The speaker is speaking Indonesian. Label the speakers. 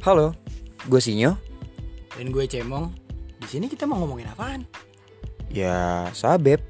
Speaker 1: Halo, gue Sinyo.
Speaker 2: Dan gue Cemong. Di sini kita mau ngomongin apaan?
Speaker 1: Ya, Sabep.